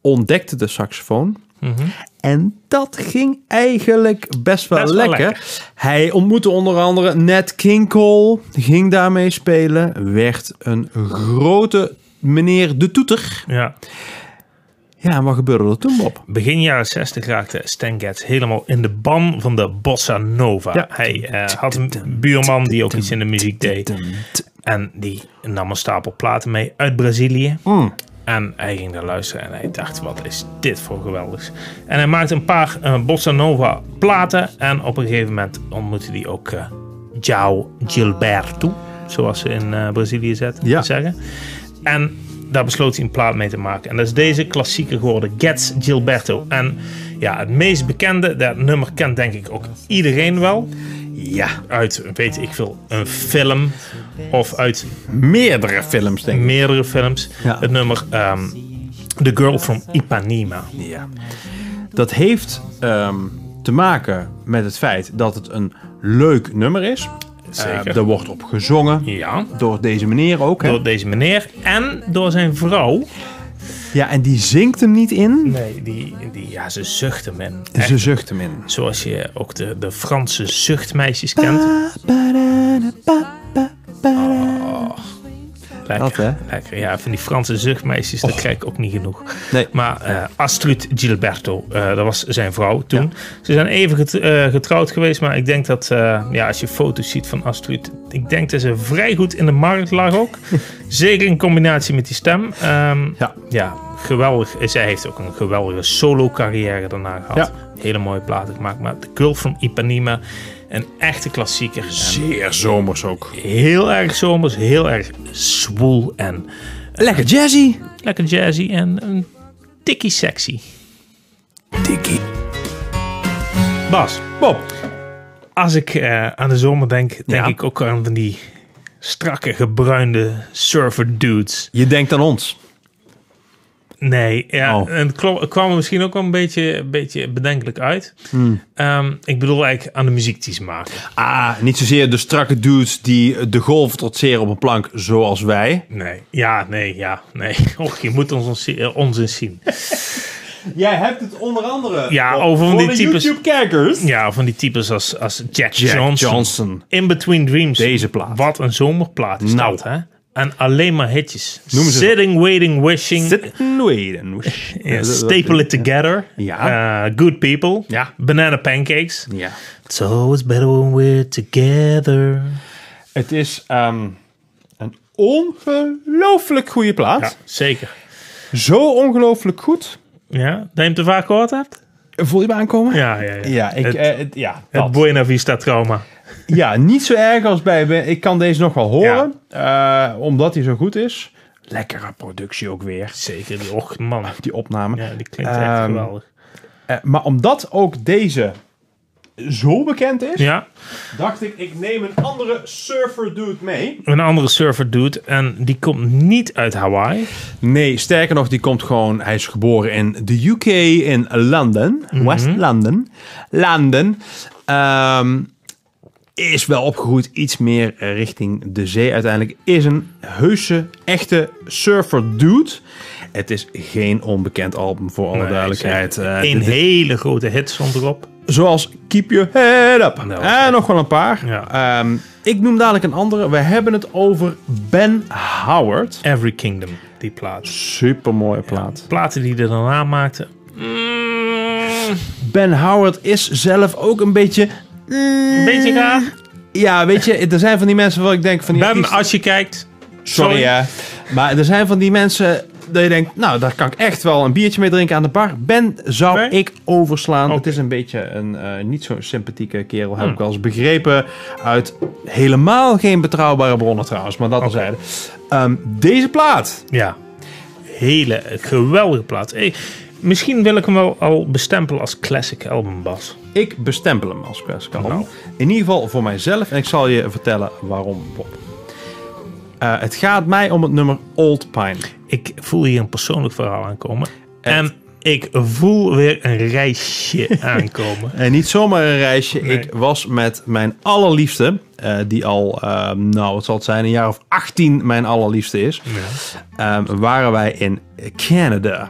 Ontdekte de saxofoon.
Mhm.
En dat ging eigenlijk best wel,
Best wel
lekker.
lekker.
Hij ontmoette onder andere Nat King Cole, ging daarmee spelen, werd een grote meneer de toeter.
Ja.
Ja, en wat gebeurde er toen, Bob?
Begin jaren 60 raakte Stan Getz helemaal in de ban van de bossa nova.
Ja.
Hij eh, had een buurman die ook iets in de muziek deed. En die nam een stapel platen mee uit Brazilië. En hij ging daar luisteren en hij dacht, wat is dit voor geweldigs. En hij maakte een paar eh, bossa nova platen. En op een gegeven moment ontmoette hij ook eh João Gilberto. Zoals ze in eh, Brazilië zet,
Ja.
zeggen. En daar besloot hij een plaat mee te maken. En dat is deze klassieker geworden, Gets Gilberto. En ja, het meest bekende, dat nummer kent denk ik ook iedereen wel.
Ja,
Uit, weet ik veel, een film of uit
meerdere films denk ik.
meerdere films.
Ja.
Het nummer ehm, The Girl from Ipanema.
Ja. Dat heeft ehm, te maken met het feit dat het een leuk nummer is.
Zeker.
Eh, er wordt op gezongen.
Ja,
Door deze meneer ook. Hè?
door deze meneer en door zijn vrouw.
Ja, en die zingt hem niet in.
Nee, die, die ja, ze zucht hem in.
Ze zucht hem in.
Zoals je ook de, de Franse zuchtmeisjes kent. Lekker,
Dat, hè?
lekker. Ja, van die Franse zuchtmeisjes, daar krijg ik ook niet genoeg.
Nee.
Maar eh, Astrid Gilberto, eh, dat was zijn vrouw toen. Ze zijn even get- eh, getrouwd geweest, maar ik denk dat... eh, ja, als je foto's ziet van Astrid... Ik denk dat ze vrij goed in de markt lag ook. Zeker in combinatie met die stem. Ehm,
Ja.
ja, geweldig. Zij heeft ook een geweldige solo-carrière daarna gehad. Hele mooie platen gemaakt. Maar The Girl from Ipanema, een echte klassieker. En
Zeer zomers ook.
heel erg zomers, heel erg zwoel en
Lekker jazzy.
lekker jazzy en een tikkie sexy.
Dikkie.
Bas,
Bob.
als ik eh, aan de zomer denk, denk
Ja.
ik ook aan van die strakke gebruinde surfer dudes.
Je denkt aan ons.
Nee, ja,
Oh.
en het klo- het kwam er misschien ook wel een beetje, een beetje bedenkelijk uit. Ehm, ik bedoel eigenlijk aan de muziek die ze maken.
Ah, niet zozeer de strakke dudes die de golf trotseren op een plank zoals wij.
Nee. Ja, nee, ja, nee. Och, je moet ons, ons, eh, ons eens zien.
Jij hebt het onder andere
Ja, over van die types-
YouTube-kijkers.
Ja, van die types als, als Jack,
Jack
Johnson.
Johnson.
In Between Dreams.
Deze plaat.
Wat een zomerplaat is
Nou.
dat, hè? En alleen maar hitjes.
Noem ze.
Sitting, Waiting, Wishing. Ja, staple It Together.
Ja.
Eh, good People.
Ja.
Banana Pancakes.
Ja.
It's always better when we're together.
Het is ehm, een ongelooflijk goede plaat.
Ja, zeker.
Zo ongelooflijk goed.
Ja, dat je hem te vaak gehoord hebt?
Voel je me aankomen?
Ja, ja, ja.
Ja, ik,
het,
eh, het- ja,
het
dat.
Buena Vista trauma.
ja, niet zo erg als bij... bij- Ik kan deze nog wel horen, eh, omdat hij zo goed is. Lekkere productie ook weer,
Zeker, die och man.
die opname.
Ja, die klinkt echt
Ehm,
geweldig.
Eh, maar omdat ook deze zo bekend is,
Ja,
dacht ik, ik neem een andere surfer dude mee.
een andere surfer dude en die komt niet uit Hawaii.
Nee, sterker nog, die komt gewoon. Hij is geboren in de UK in London,
Mhm.
West London. London. Ehm, is wel opgegroeid iets meer eh, richting de zee uiteindelijk. Is een heuse, echte surfer dude. Het is geen onbekend album voor alle
Nee,
duidelijkheid.
zeker.
Eh,
Eén
dit-
hele grote hit stond erop.
Zoals Keep Your Head Up.
Nou,
en nog wel een paar.
Ja.
Ehm, ik noem dadelijk een andere. We hebben het over Ben Howard.
Every Kingdom, die plaat.
Supermooie plaat.
Platen die er daarna maakte. Mm,
Ben Howard is zelf ook een beetje...
beetje
Mm.
raar.
Ja, weet je, er zijn van die mensen waar ik denk van... Die
Ben,
artiesten-
als je kijkt.
sorry, hè. Maar er zijn van die mensen dat je denkt... Nou, daar kan ik echt wel een biertje mee drinken aan de bar. Ben zou
Nee?
ik overslaan.
Oké. Hm.
Het is een beetje een eh, niet zo sympathieke kerel, heb ik wel eens begrepen. Uit helemaal geen betrouwbare bronnen trouwens, maar dat al zeiden. deze plaat.
Ja, hele eh, geweldige plaat. Eh, misschien wil ik hem wel al bestempelen als classic album, Bas.
Ik bestempel hem als classic album.
Nou.
In ieder geval voor mijzelf. En ik zal je vertellen waarom, Bob. Eh, het gaat mij om het nummer Old Pine.
Ik voel hier een persoonlijk verhaal aankomen. En ik voel weer een reisje aankomen.
En niet zomaar een reisje.
Nee.
Ik was met mijn allerliefste, eh, die al, eh, nou wat zal het zijn, een jaar of 18 mijn allerliefste is. ehm, waren wij in Canada.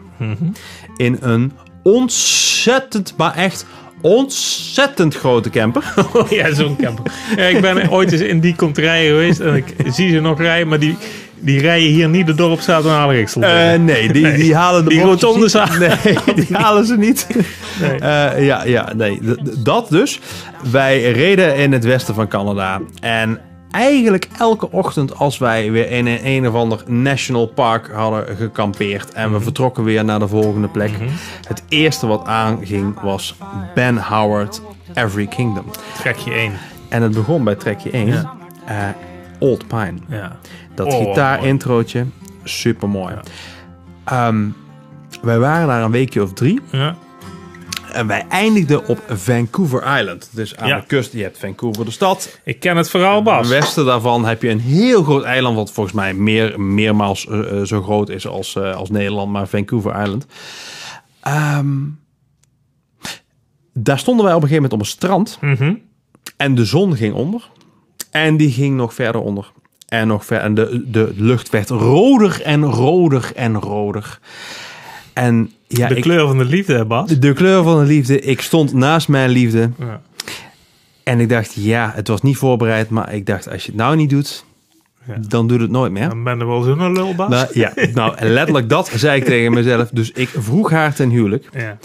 In een ontzettend, maar echt ontzettend grote camper.
Oh Ja, zo'n camper. Ja, ik ben ooit eens in die komt rijden geweest en ik zie ze nog rijden, maar die, die rijden hier niet de dorpstraat aan Aleriksel.
Eh, nee, die, die halen de
Die
bochtjes
rotondes
niet.
halen-
Nee, die halen ze niet.
Nee.
Eh, ja, ja, nee. D- d- Dat dus. Wij reden in het westen van Canada. En eigenlijk elke ochtend als wij weer in een, een of ander national park hadden gekampeerd. En
Mhm.
we vertrokken weer naar de volgende plek. Het eerste wat aanging was Ben Howard, Every Kingdom.
Trek je één.
En het begon bij trekje 1. eh, Old Pine.
Ja.
Dat
Oh,
gitaarintrootje. super mooi. wij waren daar een weekje of drie.
Ja.
En wij eindigden op Vancouver Island. Dus aan
Ja.
de kust, je hebt Vancouver de stad.
Ik ken het verhaal,
Ten
Bas.
westen daarvan heb je een heel groot eiland, wat volgens mij meer, meermaals eh, eh, zo groot is als, eh, als Nederland, maar Vancouver Island. Ehm, daar stonden wij op een gegeven moment op een strand
Mhm.
en de zon ging onder. En die ging nog verder onder. En, nog ver, en de, de lucht werd roder en roder en roder. En ja,
De
ik-
kleur van de liefde, hè, Bas.
de kleur van de liefde. Ik stond naast mijn liefde.
Ja.
En ik dacht, ja, het was niet voorbereid. Maar ik dacht, als je het nou niet doet,
Ja.
dan doet het nooit meer.
Dan ben je wel zo'n lul, Bas.
Nou, ja, nou, letterlijk dat zei ik tegen mezelf. Dus ik vroeg haar ten huwelijk.
Ja.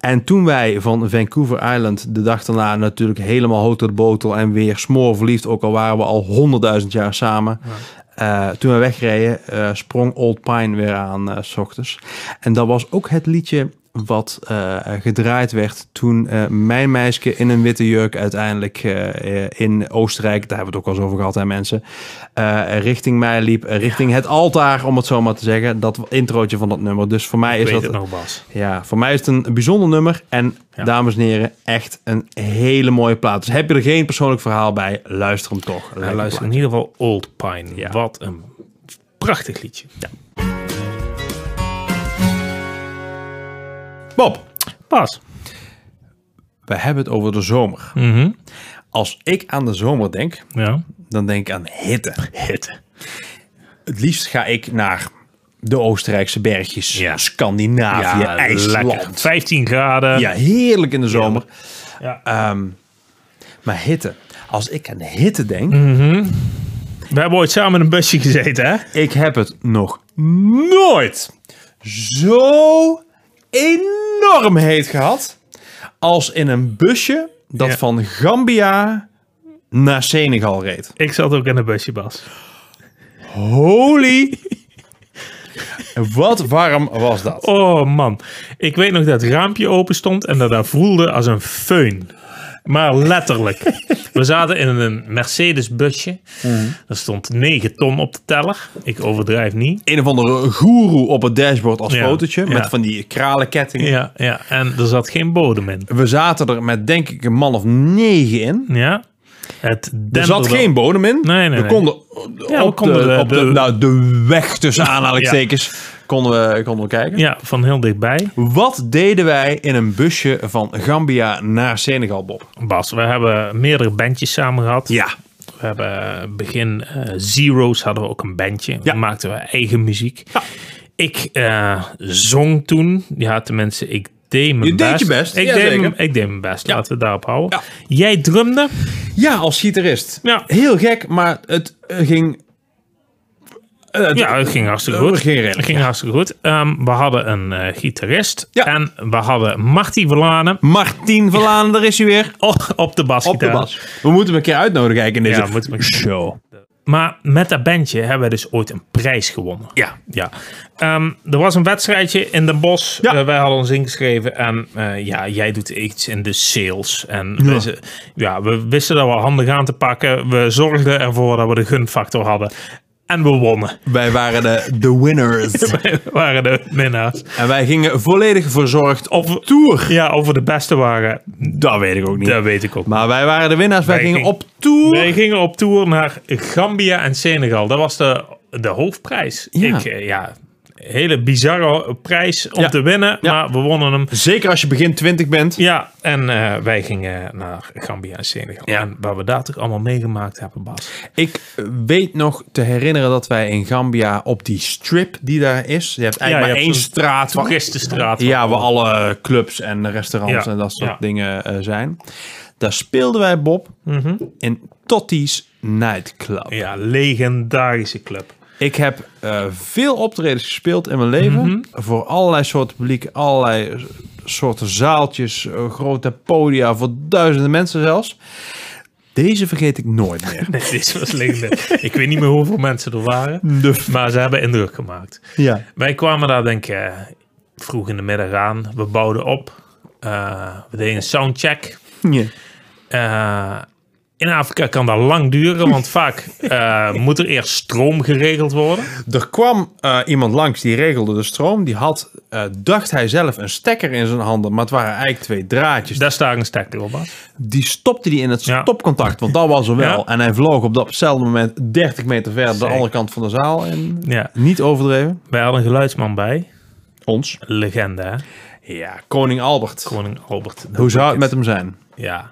En toen wij van Vancouver Island de dag daarna natuurlijk helemaal hoog tot de botel en weer smoorverliefd, ook al waren we al honderdduizend jaar samen. eh, toen we wegreden, eh, sprong Old Pine weer aan eh, s ochtends. En dat was ook het liedje wat eh, gedraaid werd toen eh, mijn meisje in een witte jurk uiteindelijk eh, eh, in Oostenrijk, daar hebben we het ook al eens over gehad, hè mensen, eh, richting mij liep, eh, richting het altaar, om het zo maar te zeggen. Dat introotje van dat nummer. Dus voor mij
Ik
is
weet
dat
het nog, Bas.
ja, voor mij is het een bijzonder nummer. En
Ja.
dames en heren, echt een hele mooie plaat. Dus heb je er geen persoonlijk verhaal bij, luister hem toch. Lekker
Nou, luister, in
plaat.
ieder geval Old Pine.
Ja.
Wat een prachtig liedje.
Bob,
Bas.
we hebben het over de zomer.
Mhm.
Als ik aan de zomer denk,
Ja.
dan denk ik aan hitte.
Hitte.
Het liefst ga ik naar de Oostenrijkse bergjes,
Ja.
Scandinavië, IJsland.
lekker. 15 graden.
Ja, heerlijk in de zomer.
Ja.
Ehm, maar hitte. Als ik aan hitte denk,
We hebben ooit samen in een busje gezeten, hè?
Ik heb het nog nooit zo enorm heet gehad als in een busje dat
Ja.
van Gambia naar Senegal reed.
Ik zat ook in een busje, Bas.
Holy! Wat warm was dat?
Oh, man. Ik weet nog dat het raampje open stond en dat dat voelde als een föhn. Maar letterlijk. We zaten in een Mercedes-busje. Er stond 9 ton op de teller. Ik overdrijf niet.
Een of andere goeroe op het dashboard als
Ja,
fotootje
ja.
met van die kralenkettingen.
Ja, ja. En er zat geen bodem in.
We zaten er met denk ik een man of negen in.
Ja. Het
Er zat geen bodem in.
Nee, nee,
we
nee.
konden
Ja, we
op,
konden
de,
de-
op de,
de-
nou, de weg tussen aanhalingstekens konden, we, konden we kijken.
Ja, van heel dichtbij.
Wat deden wij in een busje van Gambia naar Senegal, Bob?
Bas, we hebben meerdere bandjes samen gehad.
Ja.
We hebben begin eh, Zero's hadden we ook een bandje.
Ja.
Dan maakten we eigen muziek.
Ja.
Ik eh, zong toen. Ja, tenminste, ik deed mijn
Je deed
best.
je best,
Ik,
ja,
deed,
zeker.
mijn, ik deed mijn best. Laten we het daarop houden.
Ja.
Jij drumde.
Ja, als gitarist.
Ja.
Heel gek, maar het eh, ging... eh, het-
Ja, het ging hartstikke
Eh,
goed.
het ging redelijk,
het ging hartstikke goed. Ehm, we hadden een eh, gitarist.
Ja.
En we hadden Marty Verlanen
Martien Verlaan, daar is hij weer.
op, op de basgitaar.
Oh. Op de bas. We moeten hem een keer uitnodigen kijken in deze
Ja, we moeten hem een keer-
show.
Maar met dat bandje hebben we dus ooit een prijs gewonnen.
Ja.
Ja. Ehm, er was een wedstrijdje in Den Bosch.
Ja.
Eh, wij hadden ons ingeschreven. En eh, ja, jij doet iets in de sales. En ja.
Ja.
We, ze- ja, we wisten dat wel handig aan te pakken. We zorgden ervoor dat we de gunfactor hadden. En we wonnen.
Wij waren de, de winners.
We waren de winnaars.
en wij gingen volledig verzorgd op
Of-
tour.
Ja, of we de beste waren,
Dat weet ik ook niet.
dat weet ik ook.
Maar wij waren de winnaars. Wij,
Wij
gingen
gingen-
op tour.
Wij gingen op tour naar Gambia en Senegal. Dat was de, de hoofdprijs.
Ja.
Ik, eh, ja, hele bizarre prijs om
Ja.
te winnen,
Ja.
maar we wonnen hem.
Zeker als je begin 20 bent.
Ja, en eh, wij gingen naar Gambia en Senegal.
Ja.
En waar we daar toch allemaal meegemaakt hebben, Bas.
Ik eh, weet nog te herinneren dat wij in Gambia op die strip die daar is. Je hebt
Ja, je
eigenlijk maar
hebt
één
zo'n
straat. waar-
Christenstraat.
ja, waar alle clubs en restaurants
Ja,
en dat soort
ja.
dingen eh, zijn. Daar speelden wij Bob
Mhm.
in Totti's Nightclub.
Ja, legendarische club.
Ik heb eh, veel optredens gespeeld in mijn leven.
Mhm.
Voor allerlei soorten publiek, allerlei soorten zaaltjes, eh, grote podia, voor duizenden mensen zelfs. Deze vergeet ik nooit meer.
Nee, dit was legendarisch. Ik weet niet meer hoeveel mensen er waren,
De-
maar ze hebben indruk gemaakt.
Dus, Ja.
Wij kwamen daar denk ik eh, vroeg in de middag aan. We bouwden op. Eh, we deden een soundcheck.
ja.
Eh, in Afrika kan dat lang duren, want vaak eh, moet er eerst stroom geregeld worden.
Er kwam eh, iemand langs die regelde de stroom. Die had, eh, dacht hij zelf, een stekker in zijn handen. Maar het waren eigenlijk twee draadjes.
Daar staat een stekker op. hè.
Die stopte die in het
Ja.
stopcontact, want dat was er wel.
Ja.
En hij vloog op datzelfde moment 30 meter verder de
Zeker.
andere kant van de zaal. En
Ja.
niet overdreven.
Wij hadden een geluidsman bij.
Ons.
Legende, hè?
Ja, koning Albert.
Koning Albert.
Hoe zou het met hem zijn?
Ja,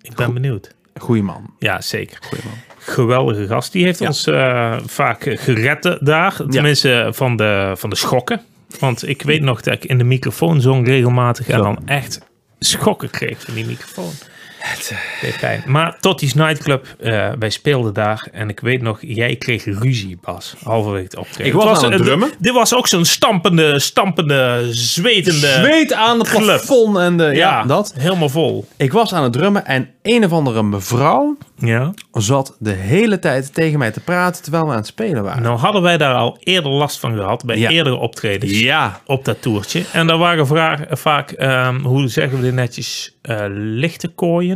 ik ben benieuwd.
Goeie man.
Ja, zeker.
Goeie man.
Geweldige gast. Die heeft
Ja.
ons eh, vaak gered daar. Tenminste, van, de, van de schokken. Want ik weet nog dat ik in de microfoon zong regelmatig. En
Zo.
dan echt schokken kreeg van die microfoon.
eh,
Deed pijn. Maar Totti's Nightclub, eh, wij speelden daar. En ik weet nog, jij kreeg ruzie, Bas. Halverwege het optreden.
Ik was aan het
eh, d-
drummen.
Dit was ook zo'n stampende, stampende, zwetende...
Zweet aan het
club.
plafond en de, ja. dat.
Helemaal vol.
Ik was aan het drummen en een of andere mevrouw
Ja.
zat de hele tijd tegen mij te praten terwijl we aan het spelen waren.
Nou hadden wij daar al eerder last van gehad bij
Ja.
eerdere optredens
Ja,
op dat toertje. En daar waren vra- vaak, ehm, hoe zeggen we dit netjes, eh, lichte kooien.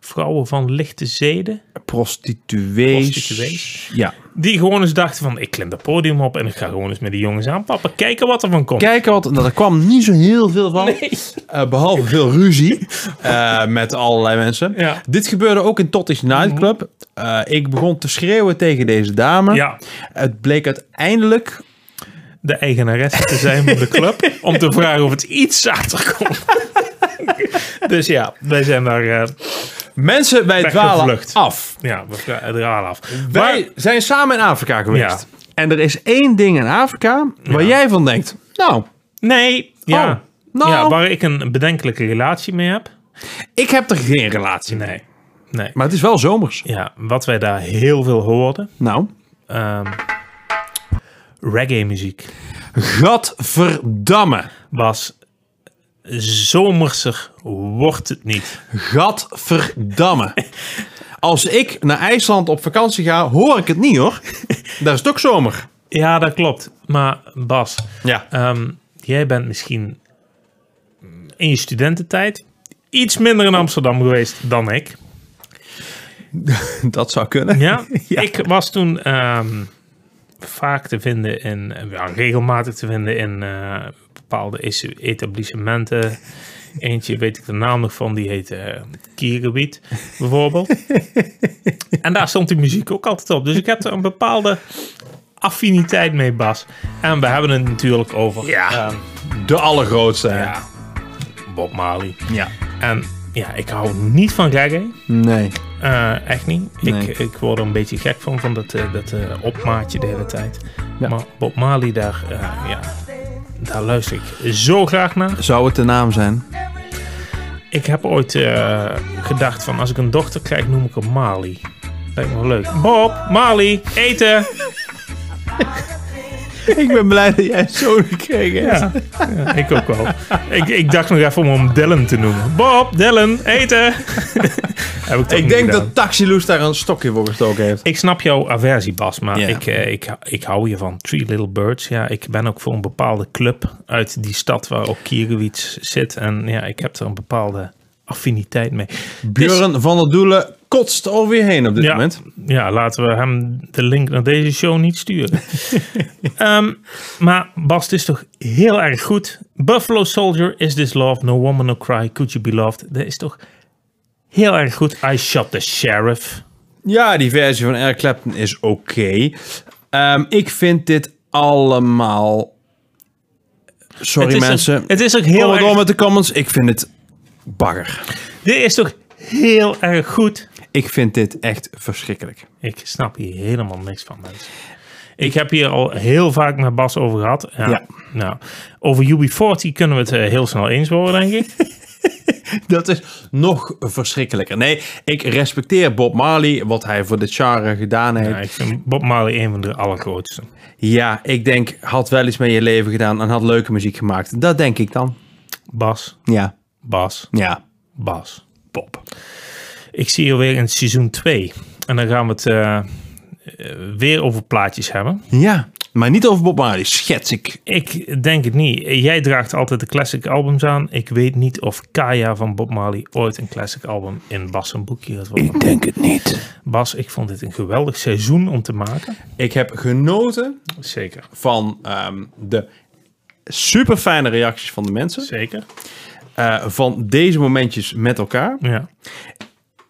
Vrouwen van lichte zeden.
prostituees.
Prostituees.
Ja.
Die gewoon eens dachten van, ik klim dat podium op en ik ga gewoon eens met die jongens aanpappen. Kijken wat er van komt.
Kijken wat, nou, er kwam niet zo heel veel van. Eh, behalve veel ruzie eh, met allerlei mensen.
Ja.
Dit gebeurde ook in Totti's Nightclub. Eh, ik begon te schreeuwen tegen deze dame.
Ja,
Het bleek uiteindelijk
de eigenares te zijn van de club. om te vragen of het iets zachter komt. dus ja, wij zijn daar... eh,
mensen bij dwalen
Weggevlucht.
af.
ja, we vra- dralen af.
Wij
Maar-
zijn samen in Afrika geweest. En er is één ding in Afrika waar jij van denkt. Nou,
Nee, ja.
nou.
ja. Waar ik een bedenkelijke relatie mee heb.
ik heb er geen relatie mee.
Nee. Nee.
Maar het is wel zomers.
Ja, wat wij daar heel veel hoorden.
Nou,
ehm, reggae muziek
gadverdamme.
was zomerser wordt het niet.
Gadverdamme. Als ik naar IJsland op vakantie ga, hoor ik het niet hoor. Daar is het ook zomer. Eh,
Ja, dat klopt. Maar Bas,
Ja.
ehm, jij bent misschien in je studententijd iets minder in Amsterdam geweest dan ik.
Dat zou kunnen.
Ja,
Ja.
ik was toen ehm, vaak te vinden in, ja, regelmatig te vinden in eh, bepaalde is- etablissementen. Eentje weet ik de naam nog van, die heette eh, Kiergebied bijvoorbeeld. en daar stond die muziek ook altijd op. Dus ik heb er een bepaalde affiniteit mee, Bas. En we hebben het natuurlijk over
Ja.
ehm,
De allergrootste.
ja, Bob Marley.
Ja.
En ja, ik hou niet van reggae.
Nee.
Eh, echt niet.
Nee.
Ik, ik word er een beetje gek van, van dat, eh, dat eh, opmaatje de hele tijd.
Ja.
Maar Bob Marley, daar, eh, ja, daar luister ik zo graag naar.
Zou het de naam zijn?
Ik heb ooit eh, gedacht van, als ik een dochter krijg, noem ik hem Marley. Lijkt me wel leuk. Bob, Marley, eten!
Ik ben blij dat jij zo'n gekregen hebt.
Ja, ja, ik ook wel. Ik, ik dacht nog even om hem Dylan te noemen. Bob, Dylan, eten! Heb ik toch
Ik
niet
denk
gedaan.
dat Taxi Loes daar een stokje voor gestoken heeft.
Ik snap jouw aversie, Bas, maar
Ja.
ik, eh, ik, ik hou je van Three Little Birds. Ja, ik ben ook voor een bepaalde club uit die stad waar ook Kierewits zit. En ja, ik heb er een bepaalde affiniteit mee. Dus-
Björn van der Doelen kotst over je heen op dit
ja,
moment.
ja, laten we hem de link naar deze show niet sturen. Ehm, maar Bas, het is toch heel erg goed. Buffalo Soldier, Is This Love, No Woman No Cry, Could You Be Loved. Dat is toch heel erg goed. I Shot the Sheriff.
Ja, die versie van Eric Clapton is oké. Ehm, ik vind dit allemaal... Sorry
het is
mensen.
Ook, het is ook heel
Kom
erg
door met de comments. Ik vind het bagger.
Dit is toch heel erg goed?
Ik vind dit echt verschrikkelijk.
Ik snap hier helemaal niks van, mensen. Ik heb hier al heel vaak met Bas over gehad. Ja.
Ja.
Nou, over UB40 kunnen we het eh, heel snel eens worden, denk ik.
Dat is nog verschrikkelijker. Nee, ik respecteer Bob Marley, wat hij voor dit genre gedaan heeft.
Ja, Nou, ik vind Bob Marley een van de allergrootste.
Ja, ik denk, had wel iets met je leven gedaan en had leuke muziek gemaakt. Dat denk ik dan.
Bas,
Ja,
Bas,
ja.
Bas, Bob. Ik zie je weer in seizoen 2. En dan gaan we het eh, eh, weer over plaatjes hebben.
Ja, Maar niet over Bob Marley, schets ik.
Ik denk het niet. Jij draagt altijd de classic albums aan. Ik weet niet of Kaya van Bob Marley ooit een classic album in Bas een boekje had. worden.
denk het niet.
Bas, ik vond dit een geweldig seizoen om te maken.
Ik heb genoten
Zeker,
van ehm, de super fijne reacties van de mensen.
zeker.
eh, van deze momentjes met elkaar.
Ja.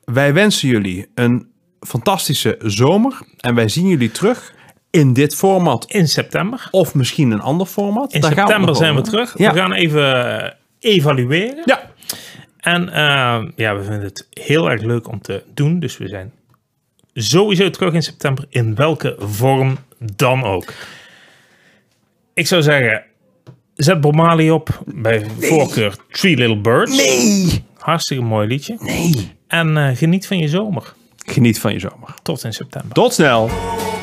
Wij wensen jullie een fantastische zomer. En wij zien jullie terug in dit format.
In september.
Of misschien een ander format.
In
Daar gaan
september
nog
zijn we
over.
terug.
Ja.
We gaan even eh, evalueren.
Ja,
En eh, ja, we vinden het heel erg leuk om te doen. Dus we zijn sowieso terug in september. In welke vorm dan ook. Ik zou zeggen, zet Bob Marley op. Bij voorkeur Three Little Birds.
Nee.
Hartstikke mooi liedje. En eh, geniet van je zomer.
Geniet van je zomer.
Tot in september.
Tot snel.
Ooh,